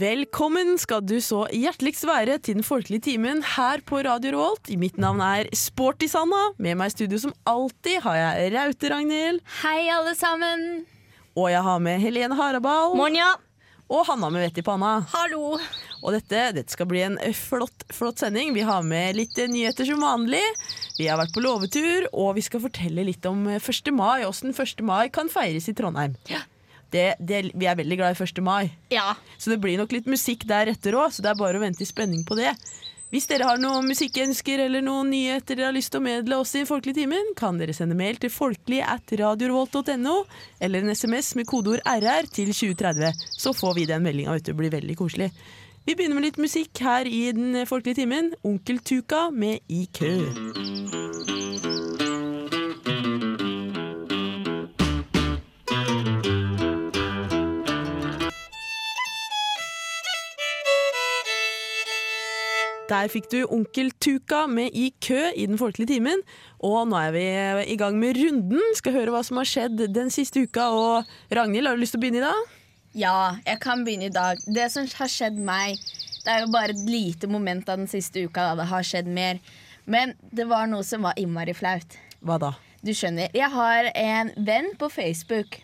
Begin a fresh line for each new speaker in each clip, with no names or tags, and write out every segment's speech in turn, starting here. Velkommen skal du så hjerteligst være til den folkelige timen her på Radio Revolt. Mitt navn er Sporty Sanna. Med meg i studio som alltid har jeg Raute Ragnhild.
Hei, alle sammen.
Og jeg har med Helene Harabal.
Monja.
Og Hanna med vett i panna.
Hallo.
Og dette, dette skal bli en flott, flott sending. Vi har med litt nyheter som vanlig. Vi har vært på låvetur, og vi skal fortelle litt om 1. mai. Åssen 1. mai kan feires i Trondheim.
Ja.
Det, det, vi er veldig glad i 1. mai.
Ja.
Så det blir nok litt musikk deretter òg, så det er bare å vente i spenning på det. Hvis dere har noen musikkønsker eller noen nyheter dere har lyst til å meddele oss i Folkelig timen, kan dere sende mail til folkelig at radiorevolt.no eller en SMS med kodeord RR til 2030. Så får vi den meldinga, vet du. Det blir veldig koselig. Vi begynner med litt musikk her i Den folkelige timen. Onkel Tuka med I kø. Der fikk du Onkel Tuka med I kø i den folkelige timen. Og nå er vi i gang med runden. Skal høre hva som har skjedd den siste uka. Og Ragnhild, har du lyst til å begynne i dag?
Ja, jeg kan begynne i dag. Det som har skjedd meg, det er jo bare et lite moment av den siste uka da det har skjedd mer. Men det var noe som var innmari flaut.
Hva da?
Du skjønner, jeg har en venn på Facebook.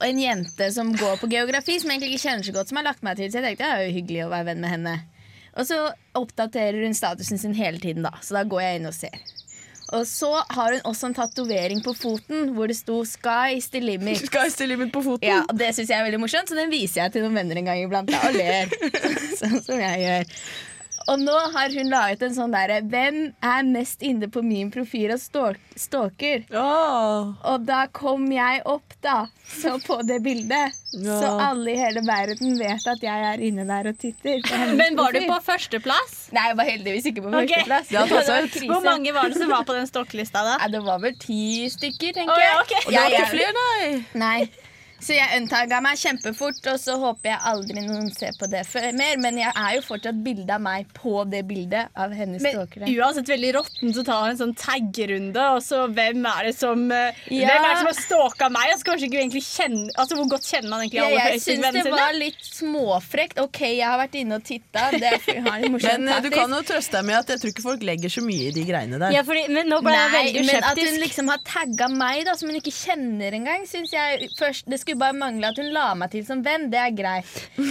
Og en jente som går på geografi, som jeg egentlig ikke kjenner så godt, som har lagt meg til. Så jeg tenkte det er jo hyggelig å være venn med henne. Og så oppdaterer hun statusen sin hele tiden, da. Så da går jeg inn og ser. Og så har hun også en tatovering på foten hvor det sto 'Sky's the limit'.
Skal jeg stille limit på foten?
Ja, og Det syns jeg er veldig morsomt, så den viser jeg til noen venner en gang iblant. da, Og ler. sånn som jeg gjør. Og nå har hun laget en sånn derre 'Hvem er mest inne på min profil og stalk- stalker?'
Åh.
Og da kom jeg opp, da, så på det bildet.
Ja.
Så alle i hele verden vet at jeg er inne der og titter. på hennes
Men var du
profil.
på førsteplass?
Nei, jeg var heldigvis ikke på
Ok.
førsteplass. altså
Det hadde vært søtt.
krise.
Hvor mange var det som var på den stokkelista da?
Nei, det var vel ti stykker, tenker
Å,
jeg.
ja, ok.
Og
Det var
jeg
ikke
er-
flere, nei.
Nei. Så jeg unntaga meg kjempefort, og så håper jeg aldri noen ser på det før mer. Men jeg er jo fortsatt bilde av meg på det bildet av hennes
Men
stalkere.
uansett veldig råtten så tar han en sånn taggerunde, og så hvem er det som eh,
Ja.
Hvem er det som har stalka meg? Altså, kanskje ikke egentlig kjenner Altså, Hvor godt kjenner man egentlig
Ja,
alle
jeg syns
Facebook-vennene
det
sine?
var litt småfrekt. OK, jeg har vært inne og titta. Det er for jeg har en morsom
Men eh, du
taktisk.
kan jo trøste deg med at jeg tror ikke folk legger så mye i de greiene der.
Ja, fordi, men nå ble jeg
Nei,
veldig
men at
skeptisk.
hun liksom har tagga meg, da, som hun ikke kjenner engang, syns jeg først Det skulle bare mangle at hun la meg til som venn, det er greit.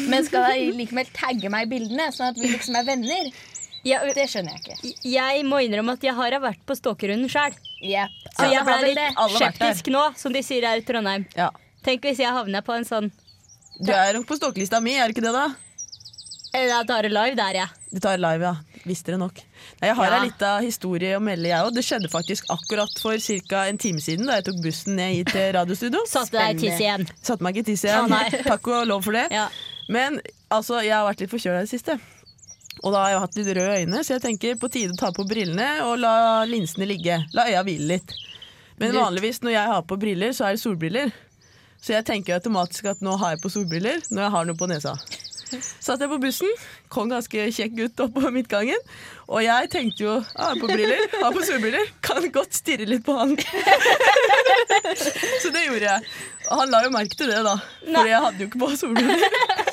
Men skal hun likevel tagge meg i bildene, sånn at vi liksom er venner?
Ja,
Det skjønner jeg ikke.
jeg må innrømme at jeg har vært på stalkerrunden sjøl.
Yep.
Så
Alle
jeg ble
har vel det.
litt
Alle har vært der.
skeptisk nå, som de sier her i Trondheim.
Ja.
Tenk hvis jeg havner på en sånn
Du er nok på stalkelista mi, er du ikke det, da?
eh, Da tar det live der, jeg.
Du tar live, ja. Visste dere nok. Nei, jeg har
Ja.
ei lita historie å melde, jeg òg. Det skjedde faktisk akkurat for ca. en time siden, da jeg tok bussen ned hit til radiostudio.
Satte deg i tiss igjen.
Satte meg ikke i tiss igjen.
Å, nei.
Takk og lov for det.
Ja.
Men altså, jeg har vært litt forkjøla i det siste. Og da har jeg hatt litt røde øyne, så jeg tenker på tide å ta på brillene og la linsene ligge. La øya hvile litt. Men vanligvis når jeg har på briller, så er det solbriller. Så jeg tenker jo automatisk at nå har jeg på solbriller når jeg har noe på nesa. Satt jeg på bussen, kom en ganske kjekk gutt opp på midtgangen. Og jeg tenkte jo ah, på briller, har på solbriller, kan godt stirre litt på han. Så det gjorde jeg. Og han la jo merke til det, da. For jeg hadde jo ikke på solbriller.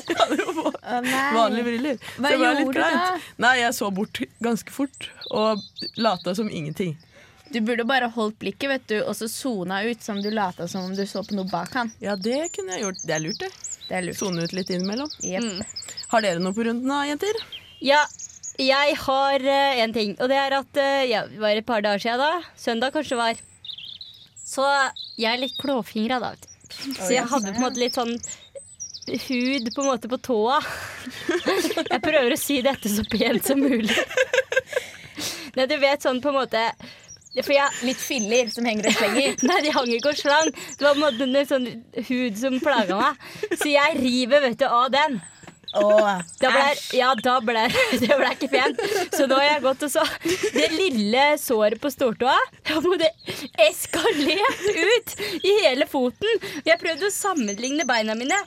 Jeg hadde jo på
Å, nei.
vanlige briller. Så det
Hva
var
gjorde
litt
du
kleint. Nei, jeg så bort ganske fort og lata som ingenting.
Du burde bare holdt blikket vet du, og så sona ut som du lata som om du så på noe bak han.
Ja, det kunne jeg gjort. Det er lurt, det.
Det er lurt.
Sone ut litt innimellom.
Jep.
Mm.
Har dere noe på runden da, jenter?
Ja, jeg har én ting, og det er at eh, ja, det var et par dager siden da. Søndag kanskje det var. Så jeg er litt klåfingra da, vet du. Så jeg hadde på en måte litt sånn hud på en måte på tåa. Jeg prøver å si dette så pent som mulig. Nei, du vet sånn på en måte For jeg
Litt filler som henger og slenger.
Nei, de hang ikke og slang. Det var på en måte en sånn hud som plaga meg. Så jeg river vet du, av den.
Åh,
Da ble,
æsj.
ja, da ble det ble ikke pent. Så nå har jeg gått og så Det lille såret på stortåa har både eskalert ut i hele foten. Jeg prøvde å sammenligne beina mine,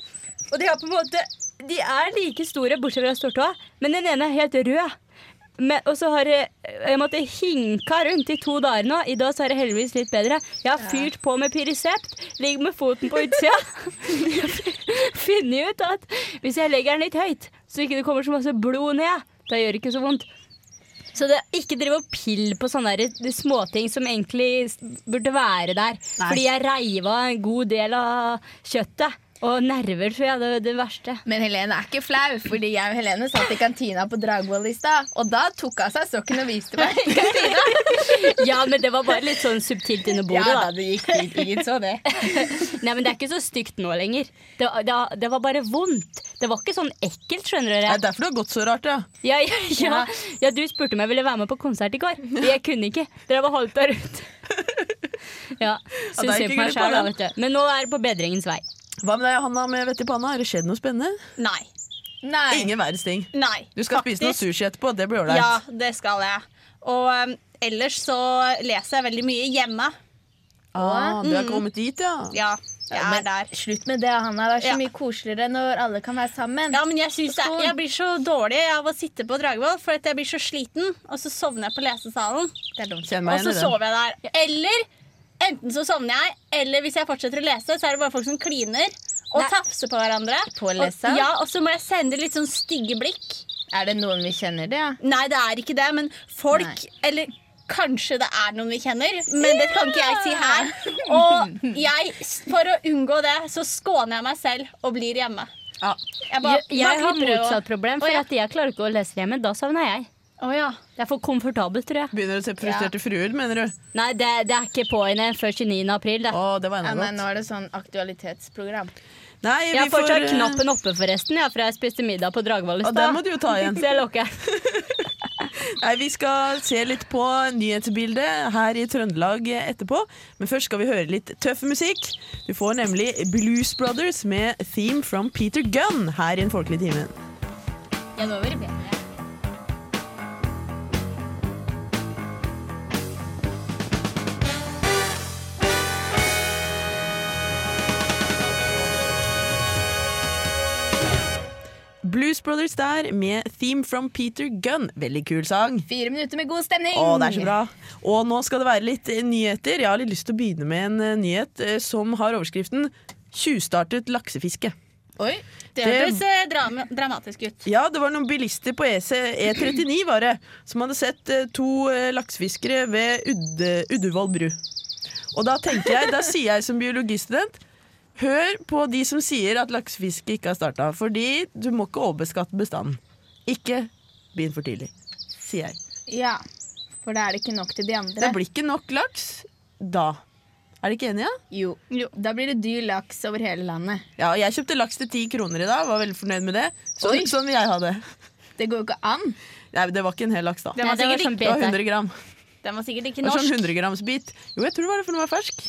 og de har på en måte De er like store bortsett fra stortåa, men den ene er helt rød. Men, og så har jeg, jeg måtte hinka rundt i to dager nå. I dag så er det heldigvis litt bedre. Jeg har fyrt på med Pyrisept. Ligger med foten på utsida. Jeg har Funnet ut at hvis jeg legger den litt høyt, så ikke det kommer så masse blod ned, da gjør det ikke så vondt. Så det, ikke drive og pille på sånne der småting som egentlig s- burde være der. Fordi jeg reiva en god del av kjøttet. Og nerver, tror jeg. Det er det verste.
Men Helene er ikke flau, fordi jeg og Helene satt i kantina på Dragvoll i stad. Og da tok hun seg sokken og viste meg i kantina.
Ja, men det var bare litt sånn subtilt under
Ja
bordet,
da,
da.
det gikk fint. Ingen så det.
Nei, men det er ikke så stygt nå lenger. Det, var- det, var- det var bare vondt. Det var ikke sånn ekkelt, skjønner
Det
dere.
er derfor du har gått så rart, ja.
Ja, ja, ja. ja, du spurte om jeg ville være med på konsert i går. Jeg kunne ikke. Dere var halvt der ute. Ja,
Ja,
syns
da gikk
synd på meg
jeg glipp
sjæl,
av
da,
den.
vet du. Men nå er det på bedringens vei.
Hva med deg, Hanna, med vett i panna? Har det skjedd noe spennende?
Nei.
Nei.
Ingen verdens ting.
Nei.
Du skal spise noe
faktisk.
sushi etterpå. Det blir ålreit.
Ja, det skal jeg. Og um, ellers så leser jeg veldig mye hjemme.
Ah, du har
Mm.
kommet dit, ja.
Ja, jeg
men
er der.
Slutt med det, Hanna. Det er så
Ja.
mye koseligere når alle kan være sammen.
Ja, men jeg, synes jeg, jeg blir så dårlig av å sitte på Dragvoll, for at jeg blir så sliten, og så sovner jeg på lesesalen.
Det er dumt.
Kjenn
Og
meg
så
igjen i den.
sover jeg der. Eller enten så sovner jeg, eller hvis jeg fortsetter å lese, så er det bare folk som kliner og
Nei.
tafser på hverandre.
På
og,
leseren?
ja, og så må jeg sende litt sånn stygge blikk.
Er det noen vi kjenner det, ja?
Nei, det er ikke det, men folk Eller kanskje det er noen vi kjenner, men det kan ikke jeg si her. Og jeg, s- for å unngå det, så skåner jeg meg selv og blir hjemme.
Ja.
Jeg,
Jeg, jeg har
klipper det og-
motsatt problem,
Å,
for
ja.
at jeg klarer ikke å lese hjemme. Da savner jeg.
Å ja.
Det er for komfortabelt, tror jeg.
Begynner å se på frustrerte fruer, mener du?
Nei, det, det er ikke på'n før 29. april. Det.
Å, det var
ja
enda
nei,
godt.
nå er det sånn aktualitetsprogram.
Nei,
Jeg
vi
har
får
fortsatt
eh,
knappen oppe, forresten, ja, fra jeg spiste middag på Dragvoll i
Ja,
stad.
den må du jo ta igjen.
Så jeg lukker den.
Nei, Vi skal se litt på nyhetsbildet her i Trøndelag etterpå. Men først skal vi høre litt tøff musikk. Du får nemlig Blues Brothers med Theme from Peter Gunn her i Den folkelige timen.
Ja, nå blir det bedre.
Blues Brothers der med Theme from Peter Gunn. Veldig kul sang.
Fire minutter med god stemning!
Å, det er så bra. Og nå skal det være litt eh, nyheter. Jeg har litt lyst til å begynne med en eh, nyhet eh, som har overskriften 'Tjuvstartet laksefiske'.
Oi.
Det
Det-
hørtes eh, drama dramatisk ut.
Ja, det var noen bilister på E EC E39 var det, som hadde sett eh, to eh, laksefiskere ved Udde, Uddevål bru. Og da tenker jeg, da sier jeg som biologistudent Hør på de som sier at laksefiske ikke har starta, fordi du må ikke overbeskatte bestanden. Ikke begynn for tidlig, sier jeg.
Ja, for da er det ikke nok til de andre.
Det blir ikke nok laks da. Er dere ikke enige?
Jo. Da blir det dyr laks over hele landet.
Ja, jeg kjøpte laks til ti kroner i dag, var veldig fornøyd med det. Så,
Oi.
sånn vil jeg ha det.
Det går jo ikke an.
Nei, det var ikke en hel laks, da.
Den
Nei,
var,
det var
sikkert,
sånn
ikke-
Det var
bete.
100 gram.
den var sikkert ikke
Det var
norsk.
sånn 100 grams bit. Jo, jeg tror det var det for den var fersk.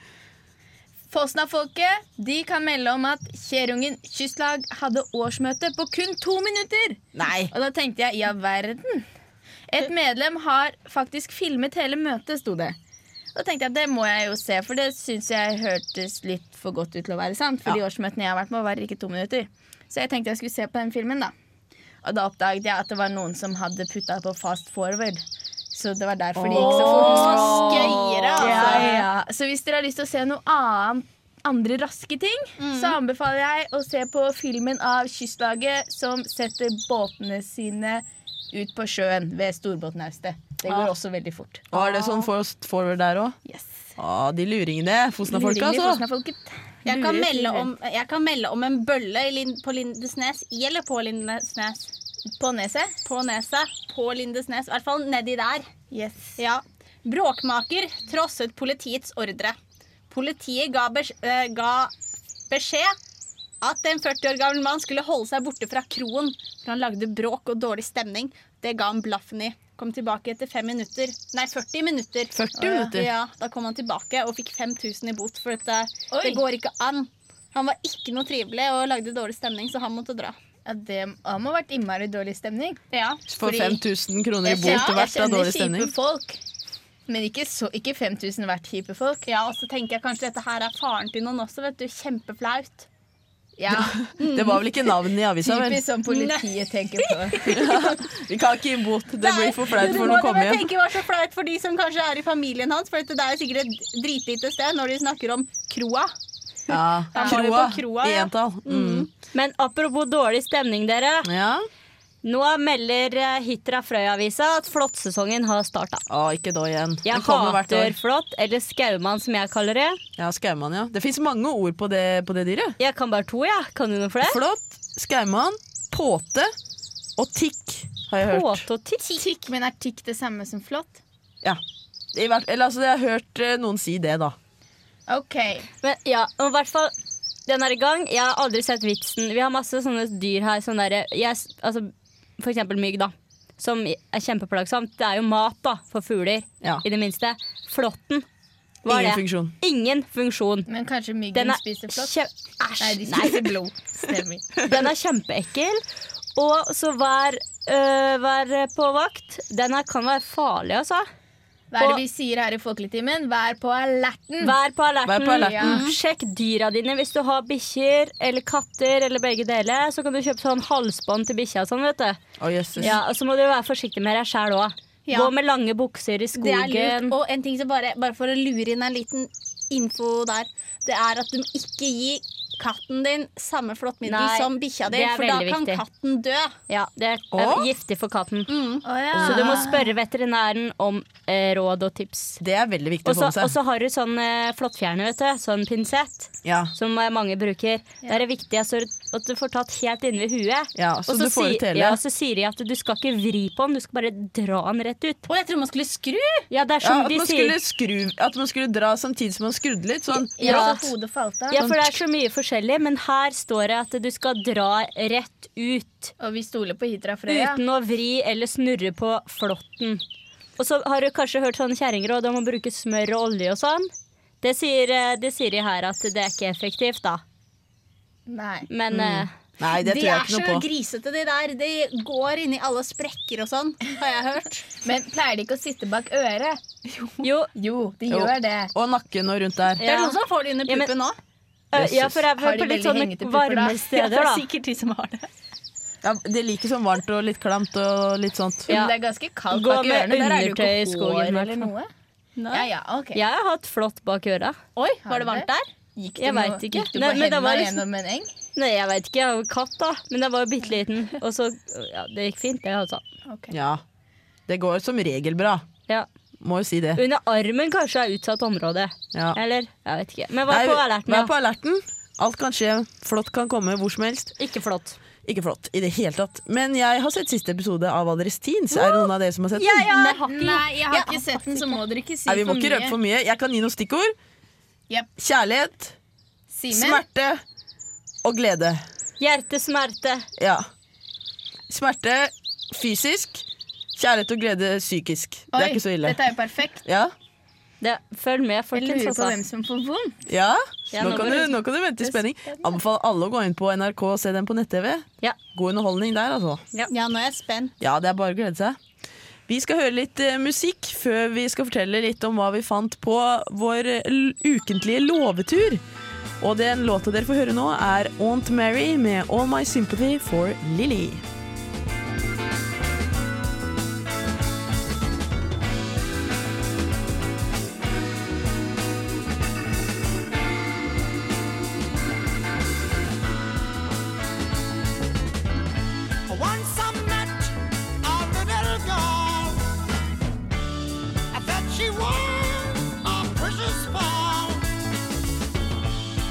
Fosna-folket de kan melde om at Kjerungen kystlag hadde årsmøte på kun to minutter.
Nei.
Og da tenkte jeg ja, verden. Et medlem har faktisk filmet hele møtet, sto det. Da tenkte jeg det må jeg jo se, for det syns jeg hørtes litt for godt ut til å være sant. For de årsmøtene jeg har vært med, varer ikke to minutter. Så jeg tenkte jeg skulle se på den filmen, da. Og da oppdaget jeg at det var noen som hadde putta på fast forward. Så det var derfor det gikk så fort.
Skøyere,
Ja,
altså.
ja. Så hvis dere har lyst til å se noe annet andre raske ting, så anbefaler jeg å se på filmen av Kystlaget som setter båtene sine ut på sjøen ved Storbåtnaustet. Det går også veldig fort.
Og er det sånn fast forward der òg?
Yes.
Ah, de luringene. Fosna-folka,
Luringene i
altså.
Fosnafolket.
Jeg kan,
Lurer
melde
fyrer.
om, jeg kan melde om en bølle i Lin- på Lindesnes. I eller på Lindesnes?
På neset.
På neset. På Lindesnes. I hvert fall nedi der.
Yes.
Ja. Bråkmaker trosset politiets ordre. Politiet ga, bes eh, ga beskjed at en 40 år gammel mann skulle holde seg borte fra kroen, for han lagde bråk og dårlig stemning. Det ga han blaffen i. Kom tilbake etter fem minutter. Nei, 40 minutter.
40 minutter?
Ja, Da kom han tilbake og fikk 5000 i bot, for dette, det
Oi.
går ikke an. Han var ikke noe trivelig og lagde dårlig stemning, så han måtte dra.
Ja, det han må ha vært innmari dårlig stemning.
Ja.
For
Fordi-
5000 kroner i
Jeg
bot
kjenner-
til hvert
jeg
av dårlig
kjenner
stemning.
kjipe folk. Men ikke, så, ikke 5000 hvert kjipe folk.
ja, og så tenker jeg kanskje dette her er faren til noen også, vet du. Kjempeflaut.
Ja,
Det var vel ikke navnet i avisa, vel?
Typisk som politiet tenker på.
Vi kan ikke gi bot. Det blir for flaut for når han
Det må
kommer
dere
hjem.
tenke var så flaut for de som kanskje er i familien hans, for dette- det er jo sikkert et dritlite sted når de snakker om kroa.
Ja,
Han var jo
Kroa
på kroa,
i
ja.
entall. Mm.
Men apropos dårlig stemning, dere.
Ja.
Nå melder eh, Hitra Frøy-avisa at flåttsesongen har starta.
Å, ikke da igjen.
Jeg
Den kommer hvert
hater
år.
flått, eller skaumann som jeg kaller det.
Ja, Skaumann, ja. Det fins mange ord på det, på det dyret.
Jeg kan bare to, jeg. Ja. Kan du noe for det?
Flått, skaumann, påte og tikk, har jeg hørt.
Påte og titt.
Tikk, men er tikk det samme som flott?
Ja. I hvert, eller altså, jeg har hørt eh, noen si det, da.
OK.
Men ja, og i hvert fall den er i gang. Jeg har aldri sett vitsen. Vi har masse sånne dyr her. Sånne der, jeg, s- altså, for eksempel mygg, da. Som er kjempeplagsomt. Det er jo mat da, for fugler,
Ja.
i det minste. Flåtten. Hva er
Ingen
det?
funksjon.
Ingen funksjon.
Men kanskje myggen
Den er,
spiser flott?
kjem...
Nei,
Æsj,
de
nei.
spiser blod. Stemmer.
Den er kjempeekkel. Og så vær, øh, vær på vakt. Den her kan være farlig, altså.
Hva er
Og-
det vi sier her i Folkeligtimen? Vær på alerten!
Vær på alerten.
Mm. Vær på alerten.
Ja. Sjekk dyra dine. Hvis du har bikkjer eller katter eller begge deler, så kan du kjøpe sånn halsbånd til bikkja. og Sånn, vet du.
Å, jøsses.
ja, og så må du være forsiktig med deg sjæl òg.
Ja.
Gå med lange bukser i
Det er lurt.
skogen.
Og en ting som bare, bare for å lure inn en liten info der, det er at du ikke gir katten din samme flåttmiddel
Nei,
som bikkja di,
det er
for da
veldig
kan
viktig.
katten dø.
Ja, det er eh,
Og?
giftig for katten.
Mm.
Å, ja.
Så du må spørre veterinæren om eh, råd og tips.
Det er veldig viktig
Og
å få
så
med
og
seg.
så har du sånn eh, flåttfjerner, vet du. Sånn pinsett.
Ja.
som eh, mange bruker. Der er det viktig altså, at du får tatt helt inne ved huet.
Ja, så Altså,
Og
du får
si-
ut hele.
Ja, så sier de at du skal ikke vri på den, du skal bare dra den rett ut.
Å, jeg trodde man skulle skru!
Ja, det er
Ja,
som
at,
de
man skulle
sier.
skru, at man skulle dra samtidig som man skrudde litt. Sånn.
Ja,
Ja.
så hodet falt av.
Ja, for det er så mye forskjellig, men her står det at du skal dra rett ut.
Og vi stoler på Hitra Frøya.
Uten å vri eller snurre på flåtten. Og så har du kanskje hørt sånne kjerringråd om å bruke smør og olje og sånn. Det sier, eh, det sier de her at det er ikke effektivt, da.
Nei.
Men eh,
Nei, det
de
tror jeg
er
ikke
så
noe på.
grisete, de der. De går inni alle sprekker og sånn, har jeg hørt.
Men pleier de ikke å sitte bak øret?
jo,
Jo, de
Jo.
gjør det.
Og nakken og rundt der.
Det er noen som får det under
Ja, men-
puppen òg.
eh, ja, for jeg
Har de
var på
veldig
litt
hengete
sånne
pupper, da?
varme steder, da.
sikkert de som har det.
Ja, det liker sånn varmt og litt klamt og litt sånt.
Ja.
Men det er ganske kaldt
Gå
bak
med
ørene. Der er det jo
undertøy i
ikke
skogen,
hår
hvertfall.
eller noe. Ja, ja, ok.
Jeg har hatt flått bak øra.
Oi, var det varmt der?
Gikk
jeg
noe-
vet ikke.
Gikk du
Nei,
på
men det
henda
var liksom-
gjennom en eng?
Nei, jeg veit ikke. Jeg har jo katt, da. Men jeg var jo bitte liten. Og så Ja, det gikk fint, det, altså.
Ja. Det går som regel bra.
Ja.
Må jo si det.
Under armen kanskje er utsatt område.
Ja.
Eller? Jeg vet ikke. Men vær
Nei,
på alerten,
Vær på
ja.
alerten. Alt kan skje. Flått kan komme hvor som helst.
Ikke flått.
Ikke flott i det hele tatt. Men jeg har sett siste episode av Adrestins. Er det noen av dere som har sett den?
Ja, ja.
Nei, jeg har ikke sett den, så må dere ikke si
Nei, vi må
for
ikke
mye.
røpe for mye. Jeg kan gi noen stikkord.
Jep.
Kjærlighet,
Simen,
smerte og glede.
Hjertesmerte.
Ja. Smerte fysisk, kjærlighet og glede psykisk. det
oi,
er ikke så ille.
dette er jo perfekt.
Ja?
Det, følg med,
Jeg
folkens.
lurer på
Altså.
hvem som får vondt.
ja?
Ja,
nå,
nå
kan
går
du,
det-
nå kan du vente i spenning. Anbefaler alle å gå inn på NRK og se den på nett-TV.
Ja.
God underholdning der, altså.
Ja, nå er jeg spent.
Ja, det er bare å glede seg. Vi skal høre litt eh, musikk før vi skal fortelle litt om hva vi fant på vår eh, l- ukentlige låvetur. Og den låta dere får høre nå, er Aunt Mary med All My Sympathy for Lily.
Once I met a little girl. I thought she was a precious ball.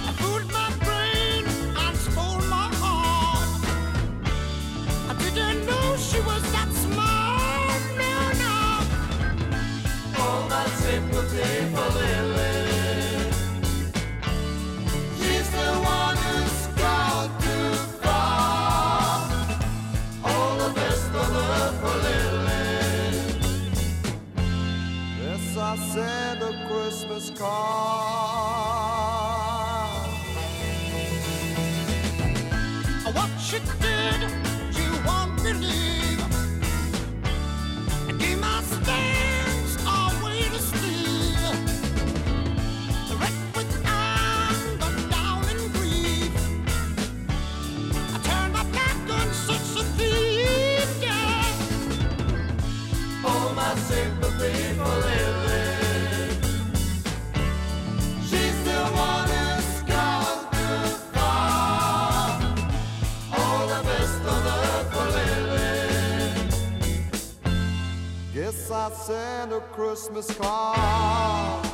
I fooled my brain and stole my heart. since I sent a Christmas card.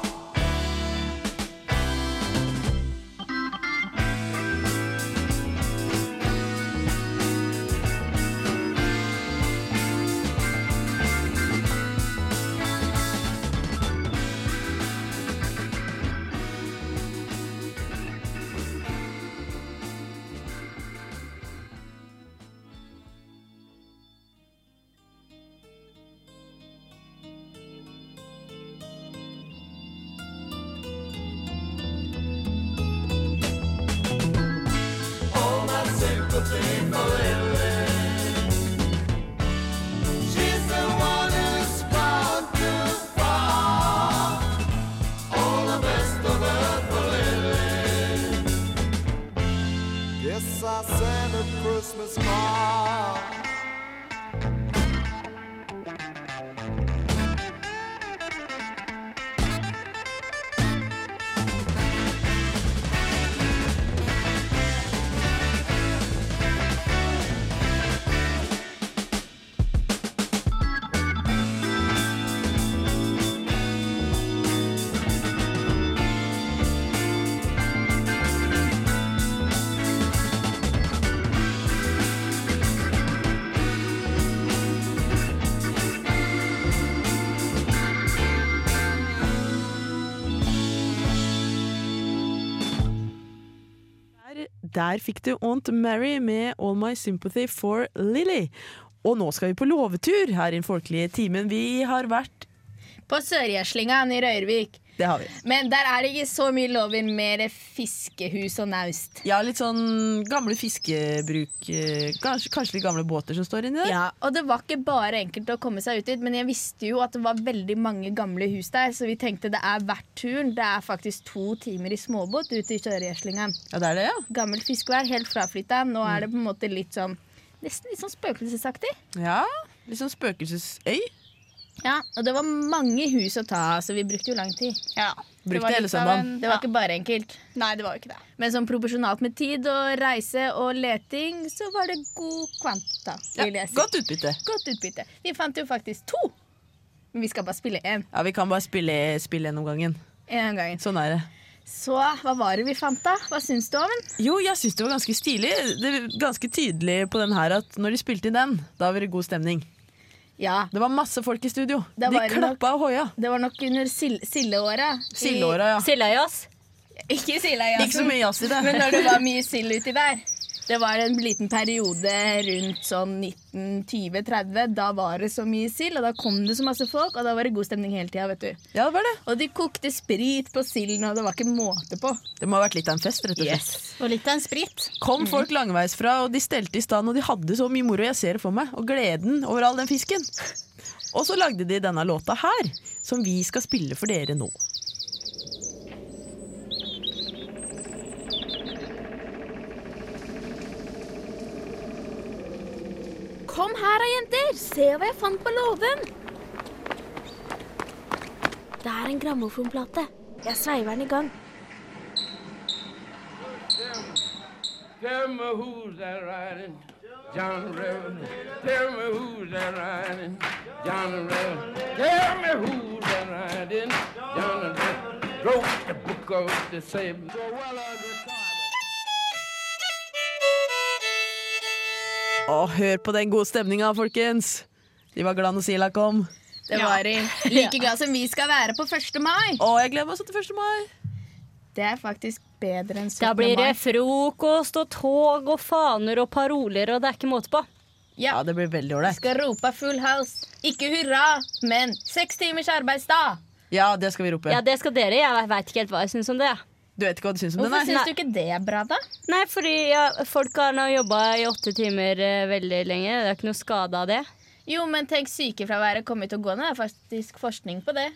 She's the one who's bound to fall. All the best of it for Lily. Yes, I sent a Christmas card.
Der, der fikk du Aunt Mary med All My Sympathy for Lily. Og nå skal vi på låvetur her i den folkelige timen. Vi har vært
På Sørgjeslingan i Røyrvik.
Det har vi.
Men der er det ikke så mye lov i mer fiskehus og naust.
Ja, litt sånn gamle fiskebruk eh, Kanskje, kanskje litt gamle båter som står inni der?
Ja, og det var ikke bare enkelt å komme seg ut dit, men jeg visste jo at det var veldig mange gamle hus der, så vi tenkte det er verdt turen. Det er faktisk to timer i småbåt ut i Sørgjeslingan.
Ja, det er det, ja.
Gammelt fiskevær, helt fraflytta. Nå er det på en måte litt sånn Nesten litt sånn spøkelsesaktig.
ja. Litt sånn spøkelsesøy.
Ja, og det var mange hus å ta av, så vi brukte jo lang tid.
Ja.
Brukte
var
hele
litt av
søndagen.
en-
Det var
ja.
ikke bare enkelt.
Nei, det var jo ikke det.
Men sånn proporsjonalt med tid og reise og leting, så var det god kvanta,
Ja,
vil jeg si.
godt utbytte.
Godt utbytte. Vi fant jo faktisk to, men vi skal bare spille én
Ja, Vi kan bare spille, spille en om gangen.
en gang.
Sånn er det.
Så hva var det vi fant, da? Hva syns du om den?
Jo, jeg syns det var ganske stilig. Det er ganske tydelig på den her at når de spilte inn den, da var det god stemning.
Ja,
Det var masse folk i studio.
Da
De
var det nok-
klappa og hoia.
det var nok under sil sildeåra. I-
Sildeåra, ja.
Silda i oss.
Ikke silda, ja.
Ikke så mye jazz i det.
Men når det var mye sild uti der. Det var en liten periode rundt sånn 1920-30. Da var det så mye sild, og da kom det så masse folk, og da var det god stemning hele tida, vet du.
Ja, det var det.
Og de kokte sprit på silden, og det var ikke måte på.
Det må ha vært litt av en fest, rett og slett.
Og litt av en sprit.
Kom folk langveisfra, og de stelte i stand, og de hadde så mye moro. Jeg ser det for meg. Og gleden over all den fisken. Og så lagde de denne låta her, som vi skal spille for dere nå.
Kom her da, jenter. Se hva jeg fant på låven. Det er en grammofonplate. Jeg sveiver den i gang.
Tell me who's that riding? John the Reverend. Tell me who's that riding? John the Reverend. Tell me who's that riding? John the Reverend. Wrote the book of the same.
Og hør på den gode stemninga, folkens! De var glad når Sila kom.
Det var de like glad som vi skal være på 1. mai.
Å, jeg gleder meg sånn til 1. mai!
Det er faktisk bedre enn 17.
Da blir det
mai.
frokost og tog og faner og paroler, og det er ikke måte på.
Ja, det blir veldig ålreit.
Skal rope full house. Ikke hurra, men seks timers arbeidsdag.
Ja, det skal vi rope.
Ja, det skal dere. Jeg veit ikke helt hva jeg syns om det. jeg.
Du vet ikke hva du syns om den?
Hvorfor
Nei.
syns du ikke det er bra, da?
Nei, fordi ja, folk har nå jobba i åtte timer eh, veldig lenge. Det er ikke noe skade av det.
Jo, men tenk sykefraværet kommer til å gå ned. Det er faktisk forskning på det.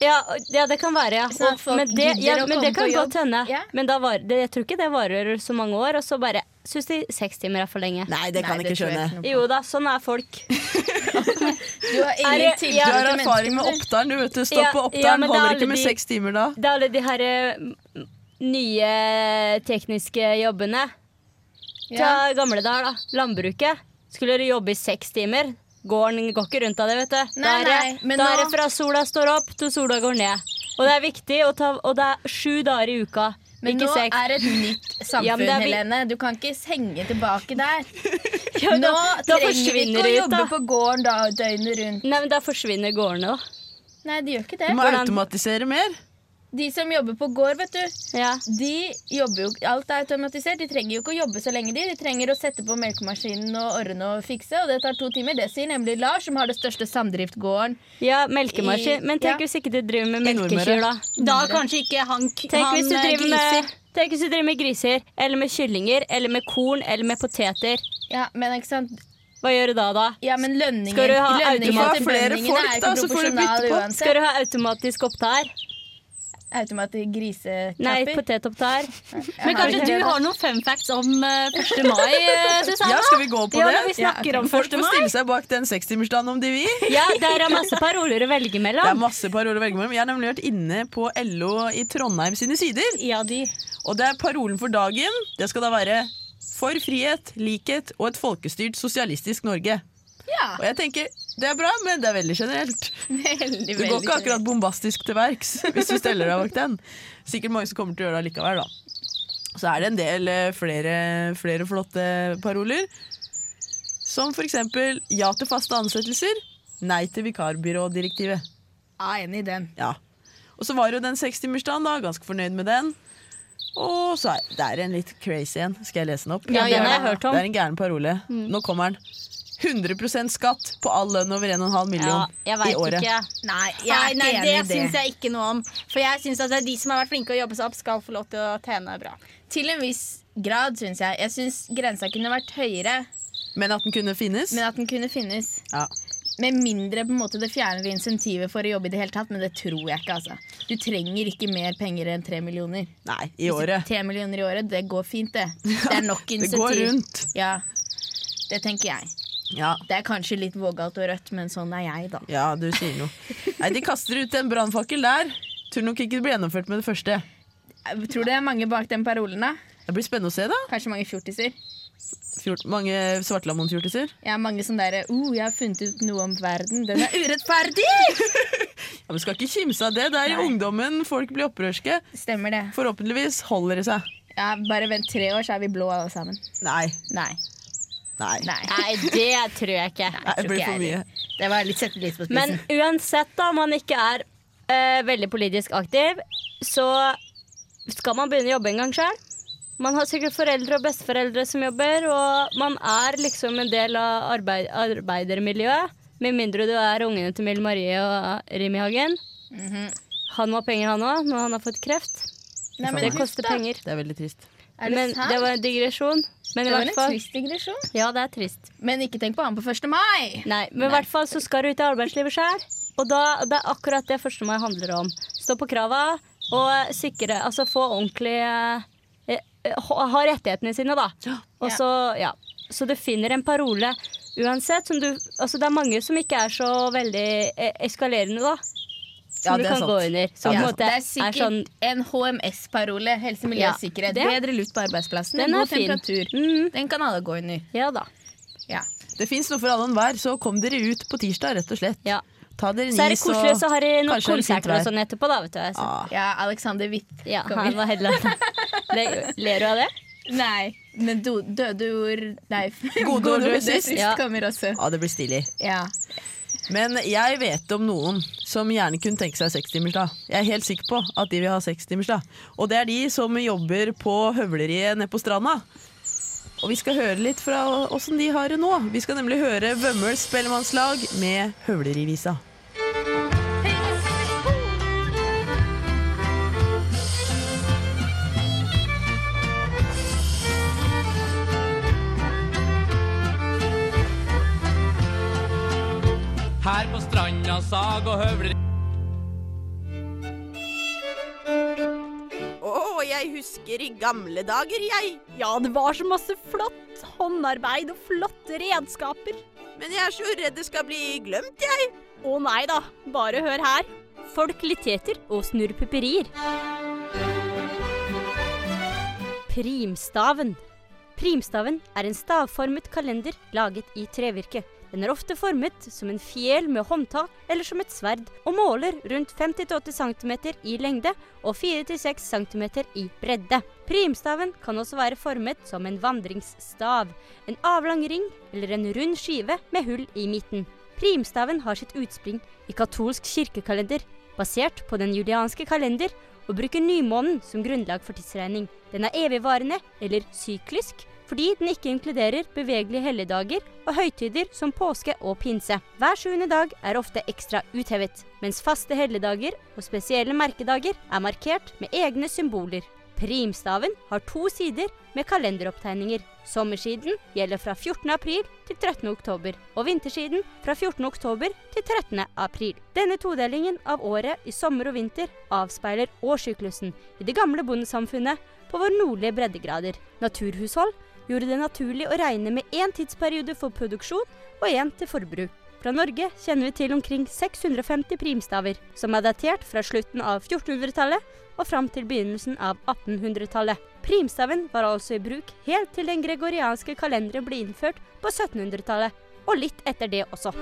Ja, ja, det kan være, ja.
Sånn at
Og-
folk
men det,
gidder
ja,
å
men det
komme
kan
på
godt
jobb.
hende.
Ja.
Men da var, det, jeg tror ikke det varer så mange år, og så bare syns de seks timer er for lenge.
Nei, det kan
Nei,
jeg ikke
tror jeg
skjønne.
ikke noe på.
Jo da, sånn er folk.
Du har
Er
ingen
det-
tiltro
ja,
Du har
til mennesker.
erfaring med Oppdalen, du vet du. Stopp
Ja,
på
ja,
Oppdalen.
men det er
Holder
alle
ikke med
de-
seks timer da.
Det er alle de her eh, m- nye tekniske jobbene. Ta
Ja.
gamle dager, da. Landbruket. Skulle dere jobbe i seks timer? Gården går ikke rundt av det, vet du.
Nei,
det er,
nei, men
det er
nå-
fra sola står opp til sola går ned. Og det er viktig, å ta, og det er sju dager i uka.
Men
ikke
nå
seks.
er det et nytt samfunn,
Ja, men det er vi-
Helene. Du kan ikke henge tilbake der.
Ja,
Nå
da- da
trenger vi ikke
forsvinner
å
det ut,
jobbe
da.
på gården da, døgnet rundt.
Nei, men Da forsvinner gårdene, da.
Nei, de gjør
Du
ikke det.
må
Hvordan-
automatisere mer.
De som jobber på gård, vet du,
Ja.
de jobber jo Alt er automatisert. De trenger jo ikke å jobbe så lenge, de. De trenger å sette på melkemaskinen og ordne og fikse, og det tar to timer. Det sier nemlig Lars, som har det største samdriftgården.
ja, melkemaskin.
I-
Men
ja.
tenk hvis ikke du driver med
I Nordmøre.
melkekyr, da.
Da kanskje ikke han, k-
Tenk
han
hvis, du
eh,
driver med,
griser.
tenk hvis du driver med griser, eller med kyllinger, eller med korn, eller med poteter.
Ja, men ikke sant
Hva gjør du da, da?
Ja, men lønningen,
Skal du ha
lønningen
automat-
til
Du får ha flere
bøndene
folk,
er jo
da,
ikke
så får du
proporsjonal
bytte på.
uansett.
Skal du ha automatisk opptar?
Automatisk grisekapper.
Nei, potetopptar.
Men kanskje du har noen fun facts om eh, 1. mai, eh,
Ja,
Susanne?
skal vi gå på
Ja, når vi
det?
snakker om
Folk
1.
får
mai.
stille seg bak den 60-timersdagen om de vil.
Ja, der er masse paroler å velge
Det er
mellom.
masse paroler å velge mellom. Jeg har nemlig vært inne på LO i Trondheim sine sider.
Ja, de.
Og det er parolen for dagen. Det skal da være for frihet, likhet og et folkestyrt sosialistisk Norge. Og jeg tenker, Det er bra, men det er veldig generelt.
Veldig,
Du går
veldig
ikke akkurat bombastisk til verks hvis du steller deg bak den. Sikkert mange som kommer til å gjøre det likevel, da. Så er det en del eh, flere, flere flotte paroler. Som for eksempel ja til faste ansettelser, nei til vikarbyrådirektivet.
Ja, enig i den.
Ja. Og så var jo den 60-timersdagen, da. Ganske fornøyd med den. Og så er det er en litt crazy en. Skal jeg lese den opp?
Ja, den har jeg hørt om. Mm.
Det er en gæren parole. Nå kommer den. 100 skatt på all lønn over 1,5
Ja,
million
jeg
i
veit
året.
ikke.
Nei, jeg
Nei,
er
nei,
enig
det
i det.
syns jeg ikke noe om. For jeg syns at det er de som har vært flinke å jobbe seg opp, skal få lov til å tjene bra.
Til en viss grad, syns jeg. Jeg syns grensa kunne vært høyere,
Men at den kunne finnes?
men at den kunne finnes.
Ja.
Med mindre på en måte det fjerner insentivet for å jobbe i det hele tatt, men det tror jeg ikke. altså. Du trenger ikke mer penger enn tre millioner.
Nei, i året.
Tre millioner i året, det går fint, det. Det er nok
Det
insentiv.
går rundt.
Ja, Det tenker jeg.
Ja.
Det er kanskje litt vågalt og rødt, men sånn er jeg, da.
ja, du sier noe. Nei, de kaster ut en brannfakkel der. Tror nok ikke det blir gjennomført med det første.
Tror du det er mange bak den parolen, da?
Det blir spennende å se, da.
Kanskje mange fjortiser?
Fjort, mange Svartlamoen-fjortiser.
Jeg har mange sånne derre uh, 'Jeg har funnet ut noe om verden. Den er urettferdig!'
Ja, men skal ikke kimse av det. Det er i ungdommen folk blir opprørske.
Stemmer det.
Forhåpentligvis holder det seg.
Ja, bare vent tre år, så er vi blå alle sammen.
Nei.
Nei.
Nei.
nei.
Nei, det tror jeg ikke.
Nei, det blir
ikke
for mye.
jeg Det var litt sette litt på spissen.
Men uansett, da, om man ikke er eh, veldig politisk aktiv, så skal man begynne å jobbe en gang sjøl. Man har sikkert foreldre og besteforeldre som jobber, og man er liksom en del av arbeid, arbeidermiljøet. Med mindre du er ungene til Mille Marie og eh, Rimi Hagen.
Mhm.
Han må ha penger, han òg, når han har fått kreft.
Nei, men
det
huff
koster
da.
penger.
Det er veldig trist.
Er det
men
sant?
det var en digresjon. Men i
Det var
hvert
en
fall
trist digresjon.
Ja, det er trist.
Men ikke tenk på han på 1. mai!
Nei, men i hvert fall så skal du ut i arbeidslivet sjøl. Og da, det er akkurat det første mai handler om. Stå på krava og sikre Altså få ordentlig eh, eh, Ha ha rettighetene sine, da. Og så, ja. Så du finner en parole uansett som du Altså det er mange som ikke er så veldig eh, eskalerende, da. Som
Ja,
du
det er
kan
sant.
gå under.
Ja,
Som på
Ja,
en måte
det er sikkert
sånn
en HMS-parole. Helse, miljø,
Ja,
sikkerhet.
det-
Bedre luft på arbeidsplassen.
Den er
god
fin.
temperatur.
Mm,
Den kan alle gå under.
ja da.
Ja.
Det fins noe for alle og enhver, så kom dere ut på tirsdag, rett og slett.
Ja.
Ta dere
Så
en
er det
is
koselig, så har de noen
kanskje er det fint
konserter og
vær.
sånn etterpå, da, vet du. Så,
Ah,
ja, Alexander Witt.
ja,
kommer.
han var heller Le- Ler du av det?
Nei, men do, døde ord Nei,
Gode ord døde
døde
sist.
Ja.
kommer også.
ah, det blir stilig.
Ja.
Men jeg vet om noen som gjerne kunne tenke seg sekstimersdag. Jeg er helt sikker på at de vil ha sekstimersdag. Og det er de som jobber på høvleriet nede på stranda. Og vi skal høre litt fra åssen de har det nå. Vi skal nemlig høre Vømmøl spellemannslag med Høvlerivisa.
Her på stranda sag og høvler
Å, jeg husker i gamle dager, jeg.
Ja, det var så masse flott håndarbeid og flotte redskaper.
Men jeg er så redd det skal bli glemt, jeg.
Å nei da, bare hør her.
Folkligheter og snurrpupperier. Primstaven. Primstaven er en stavformet kalender laget i trevirke. Den er ofte formet som en fjel med håndtak eller som et sverd, og måler rundt 50-80 cm i lengde og 4-6 cm i bredde. Primstaven kan også være formet som en vandringsstav, en avlang ring eller en rund skive med hull i midten. Primstaven har sitt utspring i katolsk kirkekalender, basert på den julianske kalender, og bruker nymånen som grunnlag for tidsregning. Den er evigvarende, eller syklisk, fordi den ikke inkluderer bevegelige helligdager og høytider som påske og pinse. Hver sjuende dag er ofte ekstra uthevet, mens faste helligdager og spesielle merkedager er markert med egne symboler. Primstaven har to sider med kalenderopptegninger. Sommersiden gjelder fra 14. april til 13. oktober, og vintersiden fra 14. oktober til 13. april. Denne todelingen av året i sommer og vinter avspeiler årssyklusen i det gamle bondesamfunnet på våre nordlige breddegrader. Naturhushold gjorde det naturlig å regne med én tidsperiode for produksjon og én til forbruk. Fra Norge kjenner vi til omkring 650 primstaver, som er datert fra slutten av 1400-tallet og fram til begynnelsen av 1800-tallet. Primstaven var altså i bruk helt til den gregorianske kalenderen ble innført på 1700-tallet, og litt etter det også.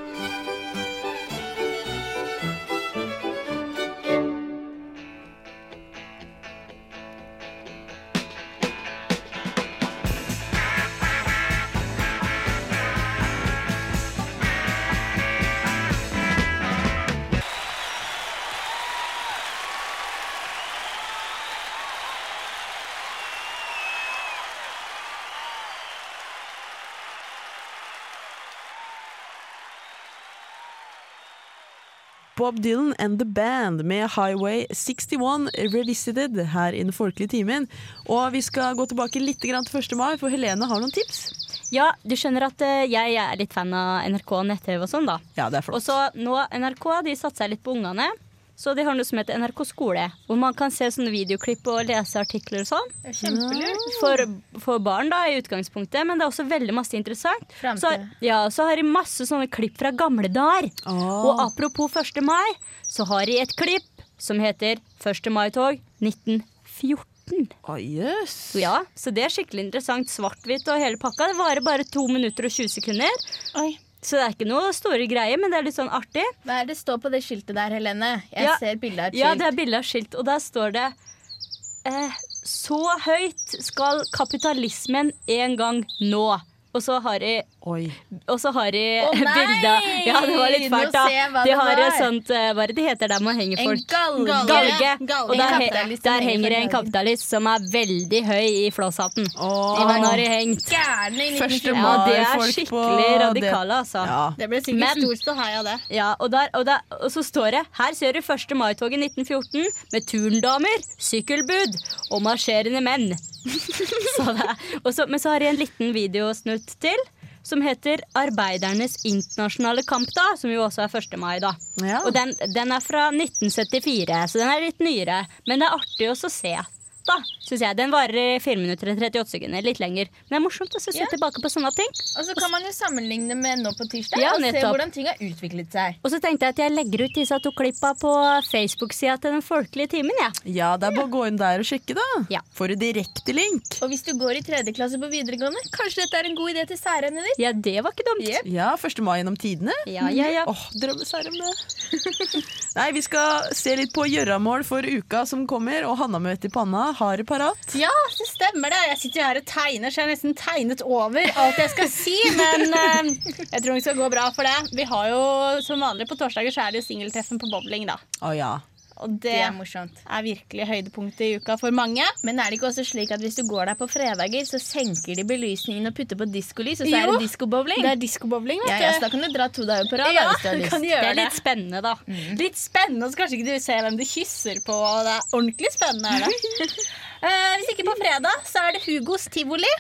Bob Dylan and The Band med Highway 61 Revisited her i den folkelige timen. Og vi skal gå tilbake litt grann til 1. mai, for Helene har noen tips.
Ja, du skjønner at eh, jeg er litt fan av NRK nett-TV og sånn, da.
Ja, det er
Og
flott.
så nå NRK de satser litt på ungene. Så de har noe som heter NRK skole, hvor man kan se sånne videoklipp og lese artikler og sånn. For, for barn, da, i utgangspunktet, men det er også veldig masse interessant.
Framtid.
Så, ja, så har de masse sånne klipp fra gamle dager.
Åh.
Og apropos 1. mai, så har de et klipp som heter 1. mai-tog 1914.
Å, jøss.
Ja, så det er skikkelig interessant. Svart-hvitt og hele pakka. Det varer bare 2 minutter og 20 sekunder.
Oi.
Så det er ikke noe store greier, men det er litt sånn artig.
Hva er det står på det skiltet der, Helene? Jeg
Ja.
ser bilde av et
Ja,
skilt.
det er bilde av skilt, og der står det eh, Så høyt skal kapitalismen en gang nå. Og så har de,
Oi.
og så har de
Å, nei!
bilde Ja, det var litt
Nå
fælt, da.
ser jeg hva
De
det
har et
var.
sånt eh, Hva er det det heter der man henger
En
folk?
galge.
Galge.
Galge.
Og der,
En
he-
kapitalist som
der
henger fra
henger det en
galgen.
kapitalist som er veldig høy i flåshatten.
Åh.
Og han har de hengt.
Gærne i
1.
1914.
Ja, de er
mai-folk på
skikkelig
det-
radikale, altså.
Ja.
Det ble sikkert
Men-
stor ståhei av det.
Ja, og, der, og, der, og så står det Her ser du 1. mai-toget 1914 med turndamer, sykkelbud og marsjerende menn. så det, og så, men så har jeg en liten videosnutt til som heter 'Arbeidernes internasjonale kamp', da, som jo også er 1. mai. da.
Ja.
Og den, den er fra 1974, så den er litt nyere. Men det er artig også å se. Da, synes jeg. Den varer i 4 minutter og 38 sekunder. Litt lenger. Men det er morsomt å se
Ja.
tilbake på sånne ting.
Og så kan man jo sammenligne med nå på tirsdag
Ja,
og se
nettopp.
hvordan ting har utviklet seg.
Og så tenkte jeg at jeg legger ut disse to klippa på Facebook-sida til Den folkelige timen. Ja.
ja, det er bare å gå inn der og sjekke, da.
Ja.
Får du direkte link.
Og hvis du går i tredje klasse på videregående, kanskje dette er en god idé til særemnet ditt?
ja, det var ikke dumt. Mhm.
Ja, 1. mai gjennom tidene.
Ja, ja, ja.
Åh, drømmeserum det. Nei, vi skal se litt på gjøramål for uka som kommer, og Hanna med vett i panna har det parat.
Ja, det stemmer det. Jeg sitter jo her og tegner, så jeg har nesten tegnet over alt jeg skal si. Men eh, jeg tror det skal gå bra for det. Vi har jo som vanlig på torsdager så er det jo singeltreffen på bowling, da.
Å ja.
Og det
Det er
er
morsomt.
virkelig høydepunktet i uka for mange.
Men er det ikke også slik at hvis du går der på fredager, så senker de belysningen og putter på diskolys, og så er
Jo.
det diskobowling?
Det er diskobowling,
Ja,
vet
ja,
du.
så da kan du dra to dager på rad da,
Ja,
hvis du har
du
lyst.
kan
Det Mm.
gjøre
er
det.
litt spennende, da.
Litt spennende, og så kanskje ikke du ser hvem du kysser på. og Det er ordentlig spennende. Er det. Eh, hvis ikke på fredag, så er det Hugos tivoli.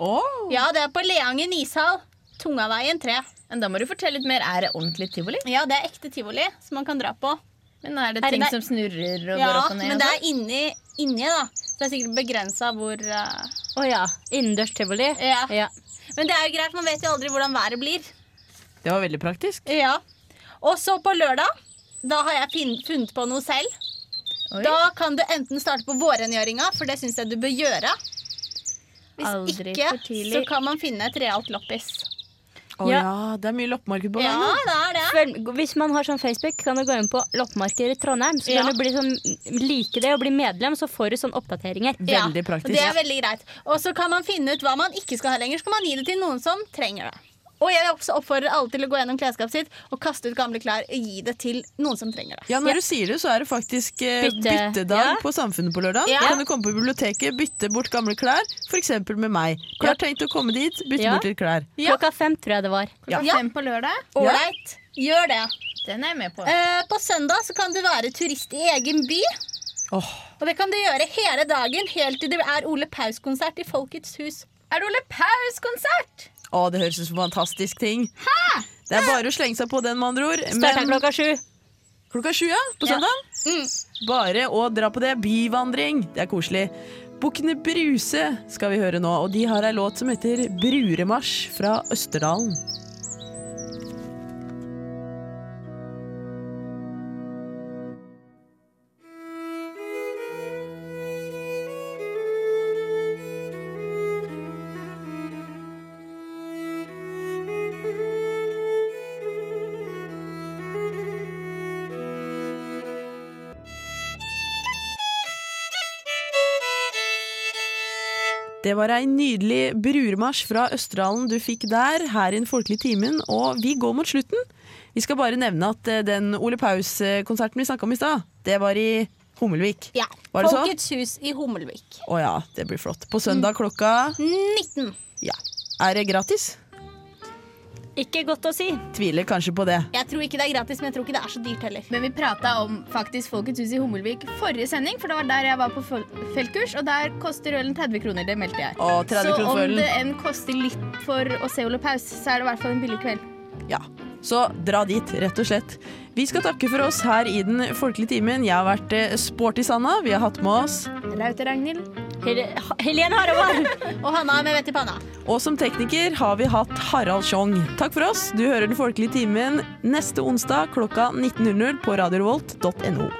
Åh.
Ja, det er på Leangen ishall. Tungaveien 3.
Men da må du fortelle litt mer. Er det ordentlig tivoli?
Ja, det er ekte tivoli som man kan dra på.
Men er det
Er det
ting
der-
som snurrer og går
Ja,
opp og ned?
men
og
det
sånn?
er inni, inni da. Så det er sikkert begrensa hvor eh,
Å ja. Innendørs tivoli.
Ja.
Ja.
Men det er jo greit, man vet jo aldri hvordan været blir.
Det var veldig praktisk.
Ja. Og så på lørdag, da har jeg fin- funnet på noe selv.
sånn. Oi.
Da kan du enten starte på vårrengjøringa, for det syns jeg du bør gjøre. Hvis
Aldri for
ikke,
tidlig.
så kan man finne et realt loppis.
Å ja. det er mye loppemarked på
Ja,
veien.
det er det.
Følg- Hvis man har sånn Facebook, kan du gå inn på loppemarked i Trondheim. Så
Ja.
kan du bli sånn, like det og bli medlem, så får du sånne oppdateringer.
Ja,
Veldig praktisk.
Det er veldig greit. Og så kan man finne ut hva man ikke skal ha lenger, så kan man gi det til noen som trenger det. Og jeg også oppfordrer alle til å gå gjennom klesskapet sitt og kaste ut gamle klær og gi det til noen som trenger det.
Ja, Når du sier det, så er det faktisk eh,
Bytte.
byttedag
Ja.
på Samfunnet på lørdag.
Ja.
Kan du komme på biblioteket, bytte bort gamle klær, f.eks. med meg. Klart tenkt å komme dit, bytte
Ja.
bort litt klær.
Klokka fem, tror jeg det var.
Ja.
Klokka fem på lørdag.
Ålreit, gjør det.
Den er jeg med på.
Eh, på søndag så kan du være turist i egen by.
Åh,
Og det kan du gjøre hele dagen helt til det er Ole Paus-konsert i Folkets hus.
Er det Ole Paus-konsert?
Å, det høres ut som en fantastisk ting. Det er bare å slenge seg på den, med andre ord.
Starter klokka sju.
Klokka sju, ja, på søndag. Bare å dra på det. Byvandring. Det er koselig. Bukkene Bruse skal vi høre nå, og de har ei låt som heter Bruremarsj fra Østerdalen. Det var ei nydelig brurmarsj fra Østerdalen du fikk der, her i Den folkelige timen, og vi går mot slutten. Vi skal bare nevne at eh, den Ole Paus-konserten vi snakka om i stad, det var i Hummelvik.
Ja.
Var det sånn? så?
Folkets hus i Hummelvik.
Å ja, det blir flott. På søndag klokka
19.
Ja. Er det gratis?
Ikke godt å si.
Tviler kanskje på det.
Jeg tror ikke det er gratis, men jeg tror ikke det er så dyrt heller.
Men vi prata om faktisk Folkets hus i Hummelvik forrige sending, for det var der jeg var på fol- feltkurs, og der koster ølen 30 kroner. Det meldte jeg.
Å, 30
Så
kroner
om
for
det
ølen.
enn koster litt for å se Ole Paus, så er det i hvert fall en billig kveld.
Ja. Så dra dit, rett og slett. Vi skal takke for oss her i Den folkelige timen. Jeg har vært eh, sporty Sanna. Vi har hatt med oss
Raute Ragnhild.
Hel Helene Harvold!
Og Hanna med vett i panna.
Og som tekniker har vi hatt Harald Schjong. Takk for oss. Du hører Den folkelige timen neste onsdag klokka 19.00 på radiorevolt.no.